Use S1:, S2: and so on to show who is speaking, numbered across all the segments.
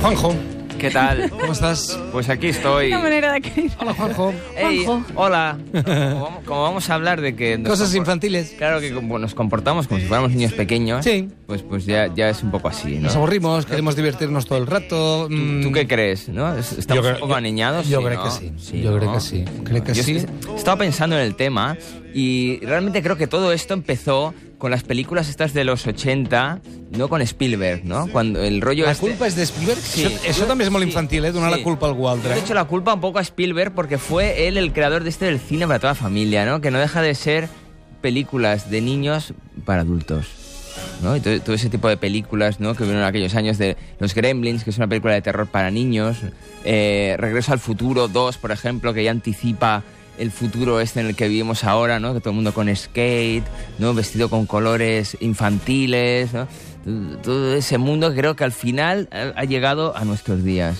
S1: Juanjo.
S2: ¿Qué tal?
S1: ¿Cómo estás?
S2: Pues aquí estoy.
S3: Una manera de acreditar.
S1: Hola, Juanjo.
S2: Ey,
S3: Juanjo.
S2: hola. Como vamos- Como vamos a hablar de que... nos
S1: Cosas
S2: compor-
S1: infantiles.
S2: Claro que como nos comportamos como si fuéramos niños pequeños.
S1: Sí.
S2: Pues, pues ya, ya es un poco así, ¿no?
S1: Nos aburrimos, queremos divertirnos todo el rato. mm,
S2: ¿Tú qué crees? ¿no? Es- ¿Estamos
S1: creo-
S2: un poco
S1: yo-
S2: aniñados?
S1: yo
S2: Sí,
S1: creo
S2: ¿no?
S1: que sí. Yo creo que sí. Creo que
S2: Yo
S1: sí.
S2: que estaba pensando en el tema y realmente creo que todo esto empezó con las películas estas de los 80, no con Spielberg, ¿no? Cuando el rollo
S1: La
S2: este-
S1: culpa és de Spielberg?
S2: Sí.
S1: Això, això també és molt
S2: Sí.
S1: infantil, eh? Donar
S2: Sí.
S1: la culpa a algú
S2: Yo
S1: altre.
S2: Le he hecho la culpa un poco a Spielberg porque fue él el creador de este del cine para toda la familia, ¿no? Que no deja de ser películas de niños para adultos. ¿no? Y todo, todo ese tipo de películas ¿no? que vinieron en aquellos años de Los Gremlins, que es una película de terror para niños. eh, Regreso al futuro 2, por ejemplo, que ya anticipa el futuro este en el que vivimos ahora, ¿no? Que todo el mundo con skate, ¿no? Vestido con colores infantiles, ¿no? Todo- Todo ese mundo que creo que al final ha- ha llegado a nuestros días.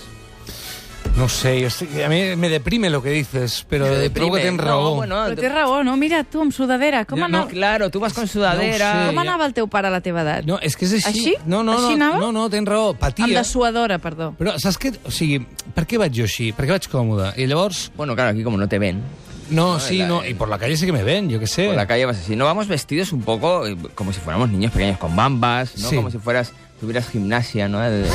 S1: No sé, yo estoy- a mí me deprime lo que dices, pero
S2: Te deprime.
S1: trobo que tens
S2: No,
S1: raó.
S2: bueno,
S3: Però té raó, no? Mira, tu, amb sudadera, com,
S1: Jo-
S3: anava,
S2: No, claro, tú vas con
S1: no ho sé.
S2: sudadera.
S3: com anava el teu pare a la teva edat?
S1: No, és que és així.
S3: Així?
S1: No, no,
S3: Així
S1: no,
S3: anava?
S1: no, no, tens raó.
S3: Amb
S1: Patia.
S3: dessuadora, perdó.
S1: Però saps què? O sigui, per què vaig jo així? Per què vaig còmode? I llavors...
S2: Bueno, claro, aquí como no te ven,
S1: No,
S2: No,
S1: sí,
S2: la-
S1: no, i por la calle sí que me ven, jo què sé.
S2: por la calle vas así. No vamos vestidos un poco eh, como si fuéramos niños pequeños con bambas, ¿no?
S1: Sí.
S2: Como si fueras, tuvieras gimnasia, ¿no? El- ¿no?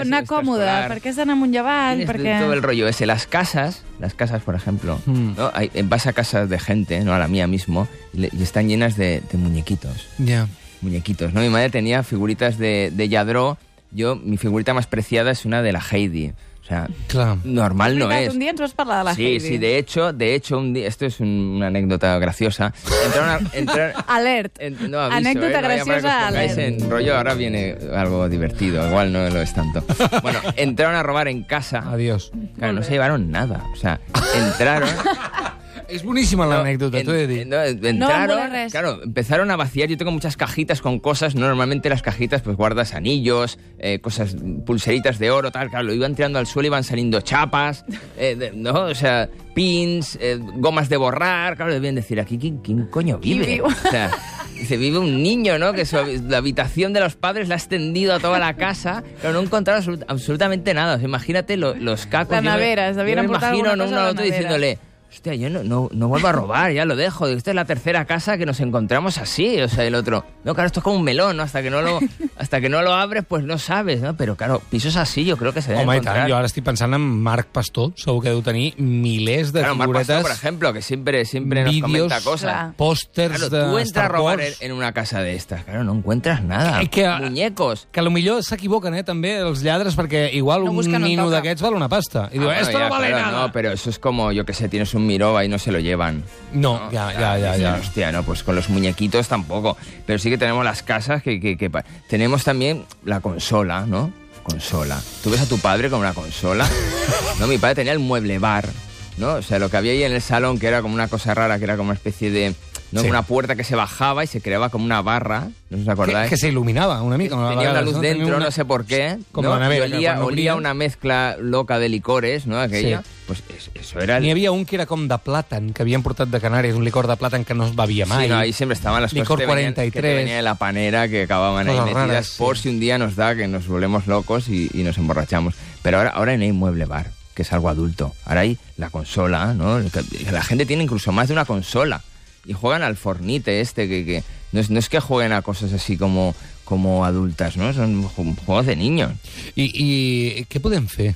S2: Tuvieras
S3: anar còmode,
S2: extraescolar.
S3: perquè has d'anar amunt i avall,
S2: Tienes
S3: perquè...
S2: todo el rollo ese. Las casas, las casas, por ejemplo,
S1: Mm.
S2: ¿no? Hay- eh, vas a casas de gente, no a la mía mismo, y, le- y están llenas de, de muñequitos.
S1: Ja.
S2: muñequitos, ¿no? Mi madre tenía figuritas de, de Yadró. Yo, mi figurita más preciada es una de la Heidi. O sea,
S1: Clar.
S2: normal no
S3: Veritat,
S2: es.
S3: Un dia ens vas parlar de la
S2: sí,
S3: Heidi.
S2: sí, de hecho, de hecho, un día, esto es un- una anécdota graciosa. Entrar una, entrar,
S3: Alert.
S2: en- no, aviso,
S3: Anécdota
S2: eh, no vaya para que os
S3: graciosa,
S2: pongáis
S3: Alert.
S2: en rollo, ahora viene algo divertido, igual no lo es tanto. Bueno, entraron a robar en casa.
S1: Adiós.
S2: Claro, no se llevaron nada. O sea, entraron.
S1: És boníssima
S2: No,
S1: l'anècdota,
S2: en-
S1: t'ho he de dir.
S2: no, en-
S3: No
S2: entraron,
S3: mola res.
S2: claro, empezaron a vaciar. Yo tengo muchas cajitas con cosas. ¿no? Normalmente las cajitas, pues guardas anillos, eh, cosas, pulseritas de oro, tal. Claro, lo iban tirando al suelo, iban saliendo chapas, eh, de- ¿no? O sea, pins, eh, gomas de borrar. Claro, debían decir aquí, ¿quién, quién coño
S3: Aquí
S2: vive?
S3: vivo.
S2: O sea, dice, vive un niño, ¿no? Que su, la habitación de los padres la ha extendido a toda la casa. Pero no encontraron absolut- absolutamente nada. O sea, imagínate lo- los cacos.
S3: La
S2: Yo me-
S3: nevera, se
S2: yo
S3: habían
S2: me
S3: aportado
S2: imagino ¿no?
S3: alguna
S2: uno
S3: cosa a
S2: al
S3: la
S2: otro
S3: nevera.
S2: diciéndole, Hostia, yo no, no, no vuelvo a robar, ya lo dejo. Esta es la tercera casa que nos encontramos así. O sea, el otro. No, claro, esto es como un melón, ¿no? Hasta que no lo, hasta que no lo abres, pues no sabes, ¿no? Pero claro, pisos así yo creo que se deben
S1: Home, i tant,
S2: encontrar.
S1: jo ara estic pensant en Marc Pastor, segur que deu tenir milers de
S2: Claro, Marc Pastor,
S1: figuretes,
S2: por ejemplo, que siempre, siempre nos
S1: vídeos,
S2: comenta cosas.
S1: pòsters
S2: Claro,
S1: de
S2: tú entras a
S1: Star
S2: robar en,
S1: Wars.
S2: en una casa de estas, claro, no encuentras nada.
S1: Que- ah, que-
S2: Muñecos.
S1: que a lo millor s'equivoquen, eh, també, els lladres, perquè igual
S3: No
S1: un
S3: busquen on
S1: nino
S3: toca.
S1: d'aquests val una pasta. I diu,
S2: Ah, bueno,
S1: esto
S2: ya,
S1: no vale
S2: claro,
S1: nada.
S2: No, pero eso es como, yo que sé, tienes un miroba y no se lo llevan.
S1: No, ja, ja, ja,
S2: Dicen,
S1: ja.
S2: Hostia, no, pues con los muñequitos tampoco. Pero sí que tenemos las casas que, que- que pa- Tenemos también la consola, ¿no? Consola. Tú ves a tu padre con una consola. no, mi padre tenía el mueble bar, ¿no? O sea, lo que había ahí en el salón, que era como una cosa rara, que era como una especie de. ¿no?
S1: Sí.
S2: Una puerta que se bajaba y se creaba como una barra. ¿No os
S1: Que,
S2: acordáis?
S1: que s'il·luminava una mica. a
S2: Tenía una
S1: vegades,
S2: luz
S1: no? Tenia
S2: dentro,
S1: una-
S2: no sé por qué.
S1: Com
S2: ¿no?
S1: la nevera,
S2: Y
S1: que
S2: olía,
S1: quan
S2: olía
S1: obrien-
S2: una mezcla loca de licores, ¿no? Aquella.
S1: Sí.
S2: Pues es- eso era el,
S1: N'hi havia un que era com de plàtan, que havien portat de Canàries, un licor de plàtan que no es bevia mai.
S2: Sí, no, ahí siempre estaban las
S1: Licor
S2: cosas que te venían- que
S1: 43.
S2: te venía de la panera que acababan ahí
S1: Cosas
S2: metidas
S1: raras,
S2: por
S1: sí.
S2: si un día nos da que nos volvemos locos y, y nos emborrachamos. Pero ahora, ahora no hay mueble bar, que es algo adulto. Ahora hay la consola, ¿no? Que- La gente tiene incluso más de una consola y juegan al fornite este, que, que no, es, no es que jueguen a cosas así como, como adultas, ¿no? Son ju- juegos de niños.
S1: I, I què podem fer?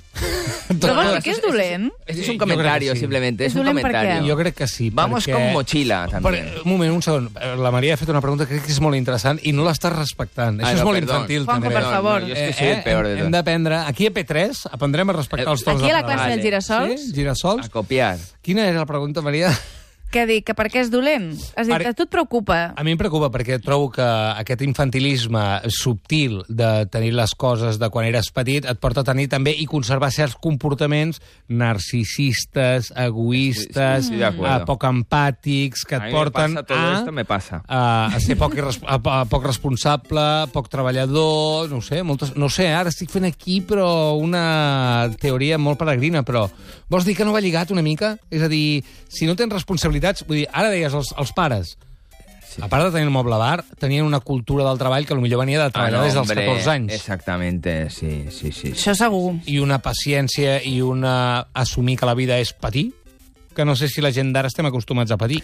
S3: Però vols
S2: no,
S3: dir que
S2: eso
S3: és
S2: es-
S3: dolent?
S2: Este es
S1: Sí,
S2: un
S1: yo creo que
S2: comentario
S1: sí.
S2: simplemente, es,
S3: Es
S2: un
S3: dolent per
S2: comentario.
S3: què?
S1: Jo crec que sí.
S2: Vamos
S1: perquè-
S2: con mochila, también.
S1: Per, un moment, un segon. La Maria ha fet una pregunta que crec que és molt interessant i no l'estàs respectant.
S2: Ai,
S1: Això és
S2: Ah, no,
S1: molt
S2: perdó.
S1: infantil,
S3: Juanjo,
S1: també. Eh,
S3: per favor.
S2: No, jo és que soy el peor de
S1: hem
S2: tots.
S1: d'aprendre... Aquí a P3 aprendrem a respectar
S2: Eh, Ah.
S1: els torns
S3: Aquí a la
S1: de
S3: classe
S1: paraula.
S3: dels girassols?
S1: Sí, girassols.
S2: A copiar.
S1: Quina era la pregunta, Maria?
S3: Què dic? Que per què és dolent? Has dit,
S1: Ara-
S3: a tu et preocupa.
S1: A mi em preocupa perquè trobo que aquest infantilisme subtil de tenir les coses de quan eres petit et porta a tenir també i conservar certs comportaments narcisistes, egoistes,
S2: Sí, sí, sí, de acuerdo.
S1: eh, poc empàtics, que
S2: A
S1: et
S2: mi me
S1: porten
S2: pasa todo
S1: a,
S2: esto, me pasa.
S1: a, a ser poc, irres, a, a, poc responsable, poc treballador, no ho sé, moltes, no ho sé, ara estic fent aquí però una teoria molt peregrina, però vols dir que no va lligat una mica? És a dir, si no tens responsabilitats, vull dir, ara deies els, els pares, A part de tenir el moble bar, tenien una cultura del treball que potser venia de treballar
S2: Ah, no,
S1: des dels
S2: hombre,
S1: 14 anys.
S2: Exactamente, sí, sí, sí. sí.
S3: Això segur.
S1: I una paciència i una assumir que la vida és patir, que no sé si la gent d'ara estem acostumats a patir.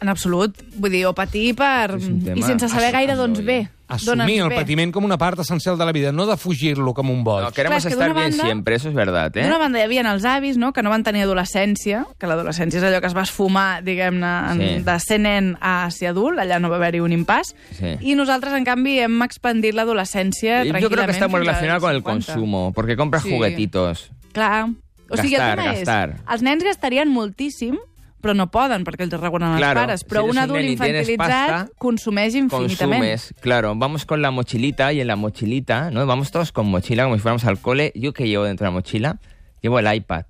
S3: En absolut. Vull dir, o patir per...
S2: És un tema-
S3: I sense saber gaire
S2: Assumir.
S3: d'on ve. d'on ens
S1: Assumir el
S3: ve.
S1: patiment com una part essencial de la vida, no defugir-lo com un boig.
S2: No, queremos
S3: Clar, és que
S2: estar
S3: d'una
S2: bien
S3: banda-
S2: siempre, eso es verdad, ¿eh?
S3: D'una banda hi havia els avis, no?, que no van tenir adolescència, que l'adolescència és allò que es va esfumar, diguem-ne,
S2: Sí.
S3: sí. de ser nen a ser adult, allà no va haver-hi un impàs,
S2: Sí.
S3: i nosaltres, en canvi, hem expandit l'adolescència
S2: Y
S3: tranquil·lament.
S2: Yo creo que está muy
S3: fins als
S2: relacionado con el
S3: 50.
S2: consumo, porque compras
S3: Sí.
S2: juguetitos.
S3: Clar. O sigui,
S2: Gastar,
S3: el tema
S2: gastar.
S3: és, els nens gastarien moltíssim, però no poden, perquè els regulen els
S2: Claro,
S3: pares. Però
S2: si eres un
S3: un adult
S2: nen i tienes
S3: infantilitzat
S2: pasta,
S3: consumeix infinitament.
S2: Consumes, claro, vamos con la mochilita y en la mochilita, ¿no? Vamos todos con mochila como si fuéramos al cole. Yo que llevo dentro de la mochila, llevo el iPad,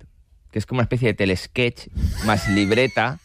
S2: que es como una especie de telesketch más libreta,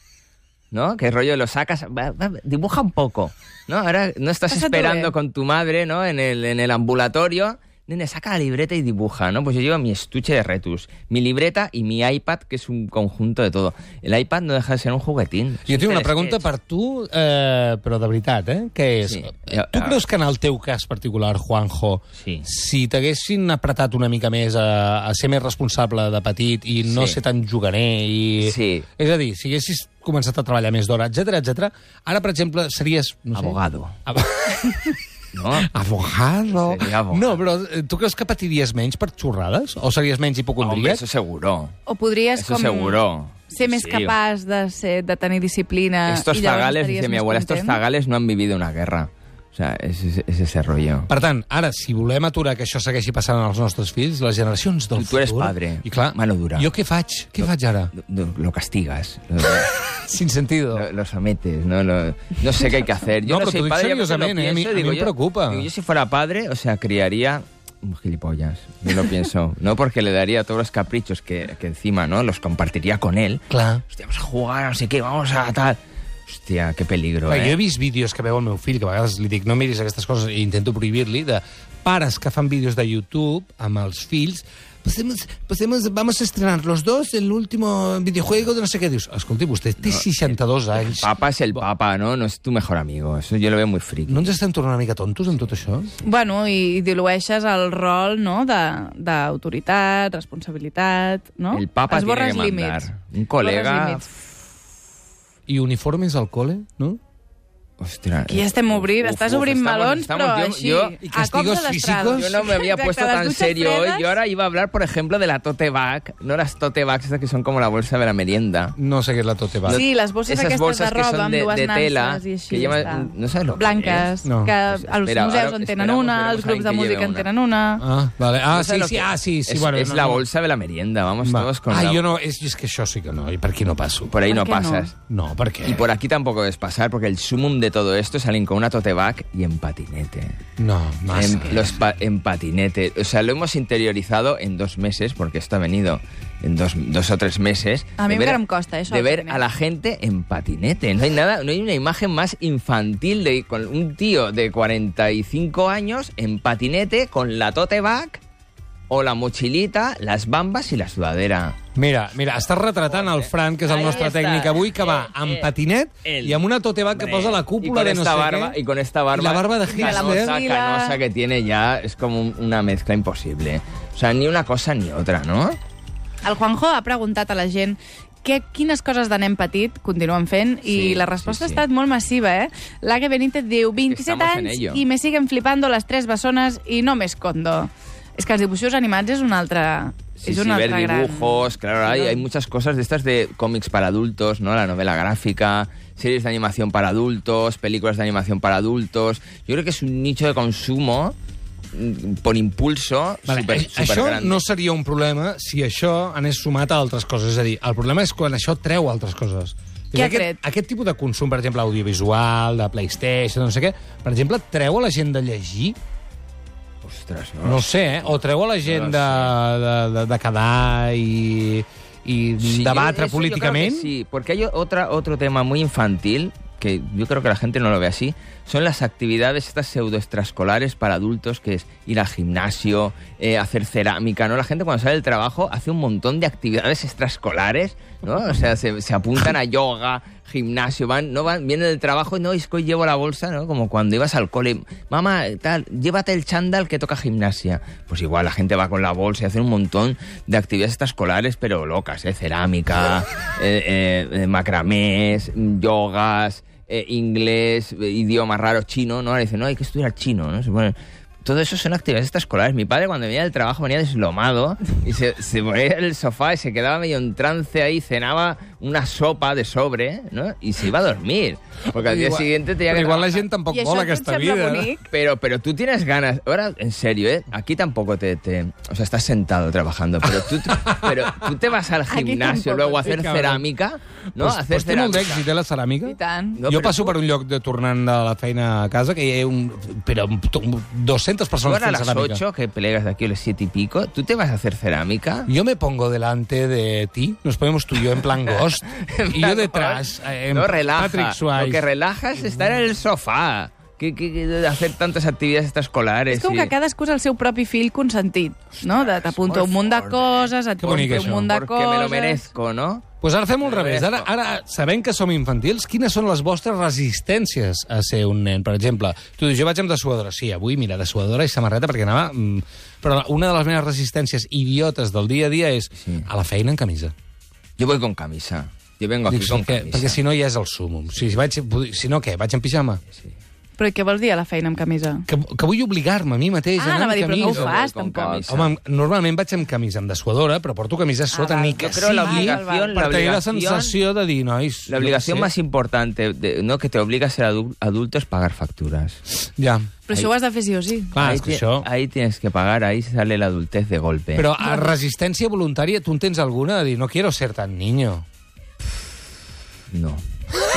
S2: ¿no? Que rollo lo sacas, va, va, dibuja un poco, ¿no? Ahora no estás
S3: Pásatelo
S2: esperando
S3: bien.
S2: con tu madre, ¿no? En el, en el ambulatorio. Nene, saca la libreta y dibuja, ¿no? Pues yo llevo mi estuche de retus, mi libreta y mi iPad, que es un conjunto de todo. El iPad no deja de ser un juguetín. es
S1: Jo
S2: un
S1: tinc una pregunta
S2: telesketch.
S1: per tu, eh, però de veritat, eh? Que és,
S2: Sí.
S1: eh,
S2: Ah.
S1: tu creus que en el teu cas particular, Juanjo,
S2: Sí.
S1: si t'haguessin apretat una mica més a, a ser més responsable de petit i no
S2: Sí.
S1: ser tan juganer i...
S2: Sí.
S1: És a dir, si haguessis començat a treballar més d'hora, etc etc. ara, per exemple, series... No sé,
S2: Abogado,
S1: ab-
S2: ¿no?
S1: Abogado.
S2: Seria abogado.
S1: No, però eh, tu creus que patiries menys per xorrades? O series menys
S2: Hombre,
S1: hipocondríac?
S2: eso seguro.
S3: O podries
S2: Eso
S3: com
S2: seguro.
S3: ser més
S2: Sí.
S3: capaç de, ser, de tenir disciplina
S2: Estos
S3: i llavors
S2: zagales,
S3: estaries
S2: dice mi
S3: més
S2: abuela, estos
S3: content.
S2: zagales no han vivido una guerra. O sea, es, es- es ese rollo.
S1: Per tant, ara, si volem aturar que això segueixi passant als nostres fills, les generacions del
S2: Tu- tu eres
S1: futur...
S2: padre,
S1: I clar,
S2: mano dura.
S1: jo què faig? Què faig ara?
S2: Lo, lo castigas, lo,
S1: Sin sentido.
S2: lo- lo sometes, ¿no? Lo- no sé qué hay que hacer. Yo
S1: No, pero
S2: no,
S1: te
S2: soy
S1: lo digo
S2: padre, yo cuando
S1: seriosamente,
S2: lo
S1: eh, a mí-
S2: pienso,
S1: a mí
S2: digo,
S1: me
S2: yo-
S1: preocupa.
S2: digo, yo si fuera padre, o sea, criaría un gilipollas, yo lo pienso. no porque le daría todos los caprichos que, que encima, ¿no? Los compartiría con él.
S1: Clar.
S2: Hostia, vamos a jugar, no sé qué, vamos a tal. Hostia, qué peligro,
S1: Clar,
S2: ¿eh?
S1: jo he vist vídeos que veu el meu fill, que a vegades li dic no miris aquestes coses i intento prohibir-li, de pares que fan vídeos de YouTube amb els fills Pasemos, pasemos, vamos a estrenar los dos el último videojuego de no sé què. Dius, escolti, vostè té
S2: eh,
S1: 62 anys.
S2: Papa es el papa, ¿no? No es tu mejor amigo. Eso yo lo veo muy friki.
S1: No ens estem tornant una mica tontos amb tot això?
S3: Bueno, i dilueixes el rol no, de- d'autoritat, responsabilitat... No?
S2: El papa
S3: Esborres
S2: tiene que mandar.
S3: límits.
S2: Un colega-
S3: Esborres límits.
S1: I uniformes al col·le, no?
S2: Ostras.
S3: Aquí estem obrint, estàs obrint melons, però així,
S2: Yo,
S1: I
S3: a cops
S1: castigos
S3: de destrals.
S1: físicos.
S2: yo no me había
S3: Exacte,
S2: puesto
S3: les
S2: tan
S3: dutxes
S2: serio hoy.
S3: fredes.
S2: Yo ahora iba a hablar, por ejemplo, de la tote bag. No las tote bags estas que son como la bolsa de la merienda.
S1: No sé què és la tote bag.
S3: Sí, les bolses
S2: Esas
S3: aquestes
S2: bolsas
S3: de
S2: que
S3: roba
S2: son
S3: amb
S2: de,
S3: dues
S2: de
S3: nances
S2: tela.
S3: i així,
S2: que llevan-
S3: està.
S2: no sabes lo que
S3: Blanques,
S2: es.
S1: No.
S3: que
S2: Pues
S3: als
S2: espera,
S3: museus
S2: ara
S3: en tenen
S2: esperamos,
S3: una,
S2: esperamos
S3: els grups
S2: a
S3: de
S2: que lleve
S3: música en
S2: una.
S3: tenen una...
S1: Ah, vale. Ah,
S2: No sé
S1: sí,
S2: lo
S1: sí,
S2: que-
S1: ah, sí, sí.
S2: Es,
S1: bueno,
S2: es
S1: no,
S2: la
S1: no.
S2: bolsa de la merienda, vamos
S1: Va.
S2: todos con
S1: ah,
S2: la...
S1: jo no, és, és que això sí que no, i per aquí no passo.
S2: Por ahí
S3: ¿Por
S2: no
S3: qué no?
S2: pasas.
S1: No, per què?
S2: Y por aquí tampoco es pasar, porque el sumum de todo esto salen con una tote bag y en patinete.
S1: No, massa.
S2: En, los pa- en patinete. O sea, lo hemos interiorizado en dos meses, porque esto ha venido en dos, dos o tres meses.
S3: A mí
S2: de ver-
S3: encara me costa eso,
S2: De
S3: el
S2: ver
S3: patinete.
S2: a la gente en patinete. No hay nada, no hay una imagen más infantil de con un tío de 45 años en patinete con la tote bag o la mochilita, las bambas y la sudadera.
S1: Mira, mira, estàs retratant el Fran, que és el
S2: Ahí
S1: nostre
S2: está.
S1: tècnic avui, que va
S2: Eh,
S1: amb
S2: eh,
S1: patinet
S2: el-
S1: i amb una tote bag que posa la
S2: y
S1: cúpula
S2: con
S1: de no sé
S2: esta barba,
S1: què.
S2: y con esta barba,
S1: Y la barba de Hitler.
S2: canosa, canosa que tiene ya es como un- una mezcla imposible. O sea, ni una cosa ni otra, ¿no?
S3: El Juanjo ha preguntat a la gent que, quines coses de nen petit continuen fent
S2: Sí,
S3: i la resposta
S2: sí, sí.
S3: ha estat molt massiva, eh? L'Age Benítez diu 27
S2: estamos en
S3: anys
S2: ello.
S3: i me siguen flipando las tres bessones i no me escondo. És que els dibuixos animats és un altre...
S2: Sí,
S3: és
S2: sí,
S3: un altre
S2: ver dibujos,
S3: gran...
S2: claro, hay,
S3: Sí, no?
S2: hay muchas cosas de estas de cómics para adultos, ¿no? La novela gráfica, series de animación para adultos, películas de animación para adultos. Yo creo que es un nicho de consumo mm, por impulso
S1: Vale,
S2: super,
S1: a- això
S2: grande.
S1: no seria un problema si això anés sumat a altres coses. És a dir, el problema és quan això treu altres coses. És
S3: Què ha
S1: aquest,
S3: tret?
S1: aquest tipus de consum, per exemple, audiovisual, de PlayStation, no sé què, per exemple, treu a la gent de llegir?
S2: Ostras, no.
S1: No ho sé, eh? O treu a la gent
S2: No
S1: de, de, de, de quedar i, i
S2: Sí, yo-
S1: debatre
S2: eso yo
S1: políticament?
S2: creo que sí, porque hay otra, otro tema muy infantil que yo creo que la gente no lo ve así, son las actividades estas pseudoextraescolares para adultos, que es ir al gimnasio, eh, hacer cerámica, ¿no? La gente cuando sale del trabajo hace un montón de actividades extraescolares, ¿no? O sea, se, se apuntan a yoga, gimnasio, van, no van, vienen del trabajo y no, es que hoy llevo la bolsa, ¿no? Como cuando ibas al cole, mamá, tal, llévate el chándal que toca gimnasia. Pues igual la gente va con la bolsa y hace un montón de actividades escolares, pero locas, ¿eh? Cerámica, eh, eh, eh, macramés, yogas, eh, inglés, eh, idioma raro, chino, ¿no? Ahora dicen, no, hay que estudiar chino, ¿no? Se pone- Todo eso son actividades extraescolares. Mi padre cuando venía del trabajo venía deslomado y se, se ponía en el sofá y se quedaba medio en trance ahí, cenaba una sopa de sobre, ¿no? Y se iba a dormir. Porque al día
S1: Igual-
S2: siguiente tenía
S1: Però
S2: que...
S1: igual la
S2: trabajar.
S1: gent tampoc
S3: I això
S1: vol
S3: a tu et
S1: aquesta vida.
S3: sembla
S1: eh? no?
S3: bonic?
S2: Pero, pero tú tienes ganas. Ahora, en serio, ¿eh? Aquí tampoco te, te- O sea, estás sentado trabajando, pero tú, pero tú te vas al
S3: Aquí
S2: gimnasio
S3: tampoco.
S2: luego a
S1: Sí,
S2: hacer
S1: cabrón.
S2: cerámica, ¿no?
S1: Pues,
S2: a hacer
S1: pues té molt
S2: cerámica.
S1: d'èxit, eh, la ceràmica.
S3: I tant.
S2: No,
S1: No, jo
S2: però
S1: passo
S2: tu-
S1: per un lloc de tornant de la feina a casa que hi ha un, però, un- un- 200
S2: Tú
S1: persones
S2: ahora a
S1: fent
S2: las
S1: ceràmica.
S2: 8, que plegas de aquí a las 7 y pico, ¿tú te vas a hacer cerámica?
S1: Yo me pongo delante de ti, nos ponemos tú y yo en plan ghost, y yo detrás, eh, en
S2: no relaja.
S1: Patrick
S2: Lo que
S1: Swayze.
S2: relaja es estar en el sofá. Que, que- que hacer tantas actividades extraescolares.
S3: És com
S2: y-
S3: que cadascú és el seu propi fill consentit, no? De- T'apunta
S2: molt
S3: un munt de
S2: fort, eh?
S3: coses, et
S1: Que bonic,
S3: compra un
S1: això.
S3: munt de
S2: Porque me lo
S3: coses...
S2: merezco, ¿no?
S1: Pues ara fem un revés. Ara,
S2: Esto.
S1: ara, sabent que som infantils, quines són les vostres resistències a ser un nen? Per exemple, tu dius, jo vaig amb dessuadora. Sí, avui, mira, dessuadora i samarreta, perquè anava... mm, Però una de les meves resistències idiotes del dia a dia és
S2: Sí.
S1: a la feina en camisa.
S2: Yo voy con camisa. Yo vengo aquí
S1: Dic, sí,
S2: con
S1: que,
S2: camisa.
S1: perquè si no ja és el súmum. Si, vaig, si no, què? Vaig en pijama?
S2: Sí.
S3: Però i què vols dir a la feina amb camisa?
S1: Que, que vull obligar-me a mi mateix
S3: Ah,
S1: a anar
S3: anava a dir,
S1: amb
S3: però no ho
S1: camisa.
S3: fas,
S2: Con
S3: tampoc.
S2: camisa.
S1: Home, em- normalment vaig amb camisa, amb dessuadora, però porto camisa sota
S3: Ah, val.
S1: ni
S2: Yo
S1: que
S2: creo la
S1: sigui
S3: obliga-
S2: obligación, la
S1: per tenir la
S2: obligación
S1: sensació de dir, nois...
S2: La
S1: jo
S2: obligación
S1: què
S2: más importante de- no que te obliga a ser adu- adulto es pagar facturas.
S1: sé. Ja,
S3: Però això ho has de fer sí o sí.
S1: clar,
S2: ahí,
S1: és Ah, que
S2: ti-
S1: això...
S2: ahí tienes que pagar, ahí sale la adultez de golpe.
S1: Però a resistència voluntària, tu en tens alguna de dir no quiero ser tan niño?
S2: No.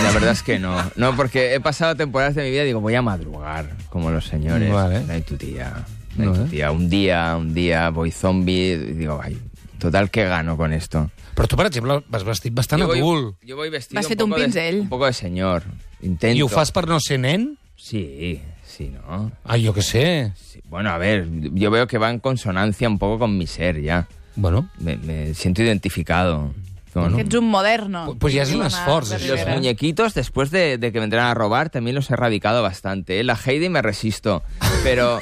S2: La verdad es que no. No, porque he pasado temporadas de mi vida y digo, voy a madrugar, como los señores.
S1: Vale.
S2: No hay tu tía. No hay
S1: Vale.
S2: tu tía. Un día, un día, voy zombie. y Digo, ay, total, ¿qué gano con esto?
S1: Però tu, per exemple, vas vestit bastant
S2: yo, voy,
S1: adult.
S2: yo voy vestido
S3: Vas
S2: un
S3: fet un
S2: poco, de,
S3: pincel.
S2: un poco de señor. Intento.
S1: I ho fas per no ser nen?
S2: Sí, sí, ¿no?
S1: Ah, jo què sé.
S2: Sí, Bueno, a ver, yo veo que va en consonancia un poco con mi ser ya.
S1: Bueno,
S2: Me, me siento identificado. Con
S3: Que ets un moderno.
S1: Pues- pues ja és un
S3: Una
S1: esforç,
S3: Albert
S1: això,
S2: los
S1: eh?
S3: Rivera.
S2: muñequitos, después de, de que me entraran a robar, también los he erradicado bastante. ¿eh? La Heidi me resisto, pero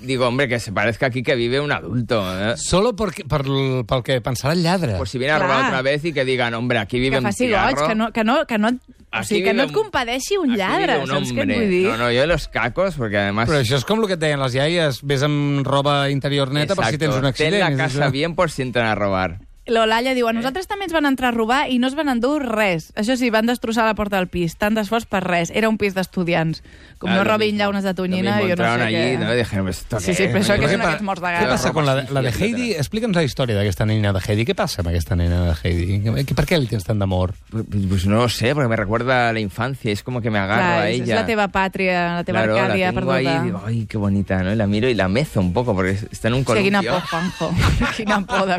S2: digo, hombre, que se parezca aquí que vive un adulto. ¿eh?
S1: solo porque, per, l- pel que pensarà el lladre.
S2: Por si viene a
S3: Claro.
S2: robar otra vez y que digan, hombre, aquí vive un
S3: Que faci goig,
S2: tiarro.
S3: que no, que no, que no, et- o
S2: Aquí
S3: sigui, que
S2: vive
S3: no et
S2: un-
S3: compadeixi un
S2: aquí
S3: lladre,
S2: vive un
S3: saps què et
S2: hombre.
S3: vull dir?
S2: No, no, yo de los cacos, porque además...
S1: Però això és com el que et deien les iaies, vés amb roba interior neta per si
S2: Exacto,
S1: tens un accident.
S2: Ten la
S1: és
S2: casa
S1: això.
S2: bien por si entran a robar.
S3: L'Olalla diu, a nosaltres també ens van entrar a robar i no es van endur res. Això sí, van destrossar la porta del pis. Tant d'esforç per res. Era un pis d'estudiants. Com
S2: Ah,
S3: no
S2: lo
S3: robin
S2: mismo.
S3: llaunes de
S2: Lo
S3: tonyina,
S2: mismo
S3: jo no sé
S2: entraron allí, ¿no?
S3: què...
S2: Y dijeron, pues, ¿esto
S3: Sí,
S2: qué
S3: sí, pero
S2: es?
S3: això
S2: ¿Qué
S3: que
S1: Què
S3: són
S1: pa-
S3: aquests morts de
S1: Què
S3: gana.
S1: passa amb la, de- la de
S2: Sí,
S1: Heidi? Explica'ns la història d'aquesta nena de Heidi. Què passa amb aquesta nena de Heidi? Que- Per què li tens tant d'amor?
S2: Pues, pues no lo sé, porque me recuerda a la infancia, es como que me agarro
S3: Clar,
S2: a
S3: és,
S2: ella.
S3: és Ah, la teva pàtria, la teva
S2: Claro, la
S3: Arcàdia
S2: tengo ahí
S3: perduda.
S2: y digo, ay, qué bonita, ¿no? Y la miro y la mezo un poco, porque está en un
S3: Hòstia,
S2: columpio.
S3: quina por, Juanjo. Quina por, de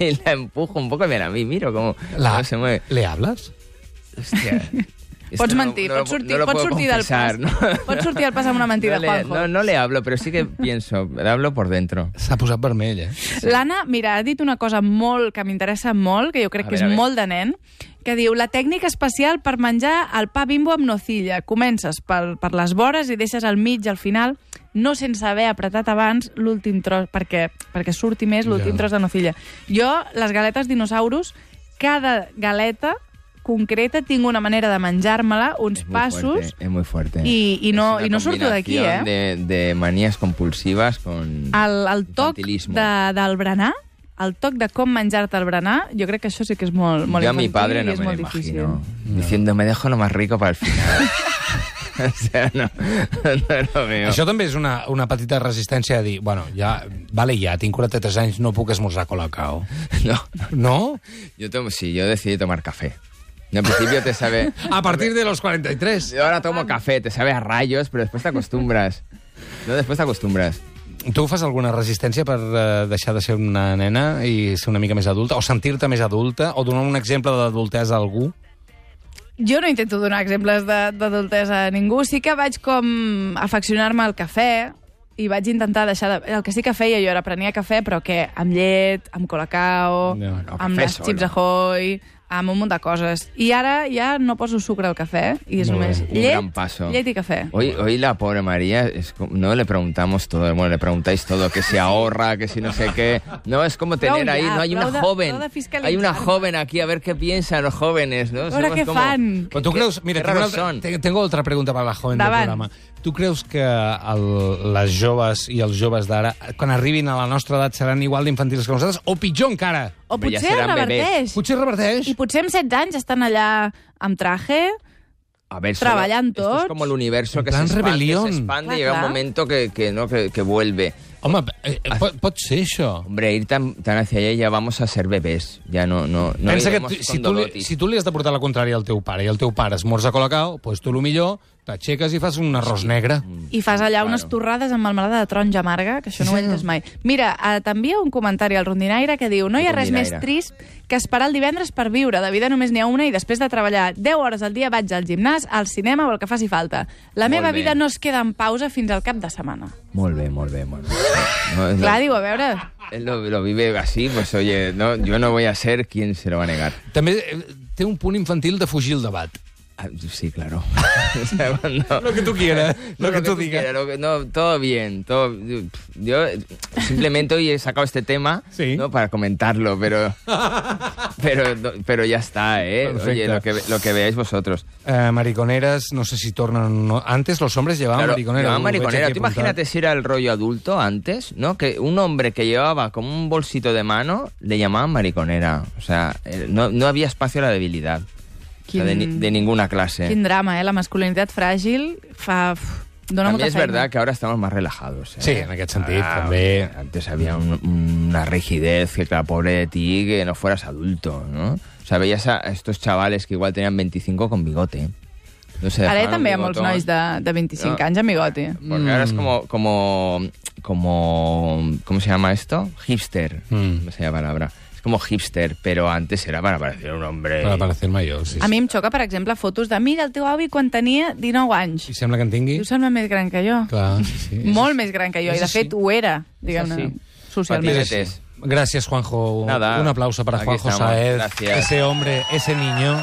S2: y la empujo un poco y me la vi, miro como
S1: La...
S2: no se mueve.
S1: ¿Le hablas?
S2: Hostia. Esto
S3: Pots
S2: no lo-
S3: mentir,
S2: no lo
S3: pots
S2: pu-
S3: sortir,
S2: no lo
S3: pots
S2: puedo
S3: sortir del pas.
S2: confesar, ¿no?
S3: Pots sortir al pas amb una mentida,
S2: no, le,
S3: Juanjo.
S2: no, no le hablo, pero sí que pienso, le hablo por dentro.
S1: S'ha posat vermell, eh?
S3: L'Anna, mira, ha dit una cosa molt que m'interessa molt, que jo crec
S2: A
S3: que és
S2: veure, a veure.
S3: molt de nen, que diu la tècnica especial per menjar el pa bimbo amb nocilla. Comences per, per les vores i deixes al mig, al final, no sense haver apretat abans l'últim tros, perquè, perquè surti més l'últim
S1: Ja.
S3: tros de nocilla. Jo, les galetes dinosaurus, cada galeta concreta tinc una manera de menjar-me-la, uns
S2: Es muy
S3: passos...
S2: fuerte, es muy fuerte.
S3: I, i,
S2: Es
S3: no,
S2: una
S3: i no surto d'aquí, eh? Ah,
S2: combinación De, de manías compulsivas con...
S3: el, el toc
S2: Infantilismo.
S3: de, del berenar, el toc de com menjar-te el berenar, jo crec que això sí que és molt, molt
S2: Yo a mi
S3: infantil
S2: padre
S3: i
S2: no
S3: és
S2: me lo
S3: molt difícil.
S2: imagino diciendo me dejo lo más rico para el final. o sea, no, no lo veo.
S1: Això també és una, una petita resistència a dir, bueno, ja, vale ja, tinc 43 anys, no puc esmorzar colacao.
S2: No.
S1: No?
S2: Yo tomo, sí, yo decidí tomar café. Y al principio te sabe.
S1: A partir de los 43.
S2: Yo ahora tomo café, te sabe a rayos, pero después te acostumbras. No, después te acostumbras.
S1: Tu fas alguna resistència per eh, deixar de ser una nena i ser una mica més adulta, o sentir-te més adulta, o donar un exemple d'adultesa a algú?
S3: Jo no intento donar exemples de- d'adultesa a ningú, sí que vaig com afeccionar-me al cafè i vaig intentar deixar de... El que sí que feia jo era prenia cafè, però que amb llet, amb colacao,
S1: No,
S2: no,
S3: amb
S2: cafè
S3: les
S2: solo.
S3: xips ahoy, amb un munt de coses. I ara ja no poso sucre al cafè, i és
S1: Molt bé.
S3: només
S2: Un
S3: llet,
S2: gran paso.
S3: llet i cafè.
S2: Hoy, hoy la pobre María, es como- no le preguntamos todo, bueno, le preguntáis todo, que se ahorra, que si no sé qué. No, es como
S3: Prou
S2: tener
S3: ya,
S2: ahí, no hay una
S3: prou de-
S2: joven,
S3: prou de fiscalizar.
S2: hay una joven aquí a ver qué piensan los jóvenes, ¿no?
S3: A veure
S2: Somos
S3: què
S2: como-
S3: fan.
S1: Però tu
S2: qué-
S1: creus... Pues Mira,
S2: qué
S1: tengo
S2: raros
S1: una,
S2: son.
S1: te- tengo otra pregunta per la joven
S3: Endavant.
S1: del programa. Tu creus que el, les joves i els joves d'ara, quan arribin a la nostra edat, seran igual d'infantils que nosaltres? O pitjor encara?
S3: O
S2: Però ja
S3: potser
S2: seran bebès.
S3: reverteix.
S1: Potser reverteix?
S3: I potser amb 16 anys estan allà amb traje,
S2: A ver, solo-
S3: Trabajan
S2: esto
S3: todos.
S2: es como el universo
S1: En
S2: que se
S1: plan
S2: expande,
S1: rebelión.
S2: se expande y
S3: Claro,
S2: llega un
S3: claro.
S2: momento que, que no, que, que vuelve.
S1: Home, eh, eh, pot, pot ser això.
S2: Hombre, ir tan, tan hacia allá ya vamos a ser bebés. Ya no, no, no
S1: Pensa que
S2: iremos
S1: tu-
S2: con
S1: si tu, li,
S2: Dolotis.
S1: si tu li has de portar la contrària al teu pare i el teu pare esmorza colacao, doncs tu, lo millor, t'aixeques i fas un arròs negre.
S2: Mm.
S3: I fas allà
S2: Claro.
S3: unes torrades amb melmelada de taronja amarga, que això no ho he entès mai. Mira, eh, t'envia un comentari al Rondinaire que diu no hi ha res més
S2: Rondinaire.
S3: trist que esperar el divendres per viure. De vida només n'hi ha una i després de treballar 10 hores al dia vaig al gimnàs, al cinema o el que faci falta.
S2: Molt
S3: La meva
S2: bé.
S3: vida no es queda en pausa fins al cap de setmana.
S2: Molt bé, molt bé, molt bé. No, no.
S3: Clar, diu, a veure...
S2: Él lo, lo vive así, pues oye, no, yo no voy a ser quien se lo va a negar.
S1: També eh, té un punt infantil de fugir el debat.
S2: Ah, Sí, claro. O sea, cuando-
S1: Lo que tu quieras, lo que tu
S2: quieras,
S1: digas.
S2: lo que- no, todo bien. Todo, yo simplemente hoy he sacado este tema
S1: Sí.
S2: ¿no? para comentarlo, pero, pero, no- pero ya está, ¿eh?
S1: Perfecto.
S2: Oye, lo que, ve- lo que veáis vosotros.
S1: Eh, mariconeras, no sé si tornan... o No. Antes los hombres llevaban
S2: Claro,
S1: mariconera.
S2: llevaba
S1: Ho veig
S2: mariconera.
S1: aquí
S2: Tú
S1: apuntat.
S2: imagínate si era el rollo adulto antes, ¿no? Que un hombre que llevaba como un bolsito de mano le llamaban mariconera. O sea, eh, no, no había espacio a la debilidad. O sea, de, ni-
S3: Quin-
S2: de ninguna clase.
S3: Quin drama, eh? La masculinitat fràgil fa... Uf, dona
S2: También
S3: molta
S2: es
S3: feina.
S2: verdad que ahora estamos más relajados. ¿eh?
S1: Sí, en aquest sentit,
S2: Ah,
S1: també.
S2: Antes había un- una rigidez que, claro, pobre de ti, que no fueras adulto, ¿no? O sea, veías a estos chavales que igual tenían 25 con bigote. No sé,
S3: Ara
S2: dejaban
S3: hi també hi ha
S2: un
S3: molts
S2: bigotón.
S3: nois de, de 25
S2: No.
S3: anys amb bigoti.
S2: Porque ahora es
S1: Mm.
S2: como, como, como, ¿cómo se llama esto? Hipster,
S1: Mm.
S2: no sé la palabra. Es como hipster, pero antes era para parecer un hombre.
S1: Para parecer mayor, sí.
S3: A
S1: sí.
S3: mi em xoca, per exemple, fotos de mira el teu avi quan tenia 19 anys.
S1: I sembla que en tingui...
S3: Tu sembla més gran que jo.
S1: Clar, sí, sí.
S3: Molt més gran que jo.
S1: és
S3: I, de
S1: així.
S3: fet, ho era, diguem-ne,
S2: així.
S3: socialment.
S2: Patinetes.
S1: Gracias, Juanjo.
S2: Nada.
S1: Un aplauso para
S2: Aquí
S1: Juanjo
S2: estamos.
S1: Saez.
S2: Gracias.
S1: Ese hombre, ese niño.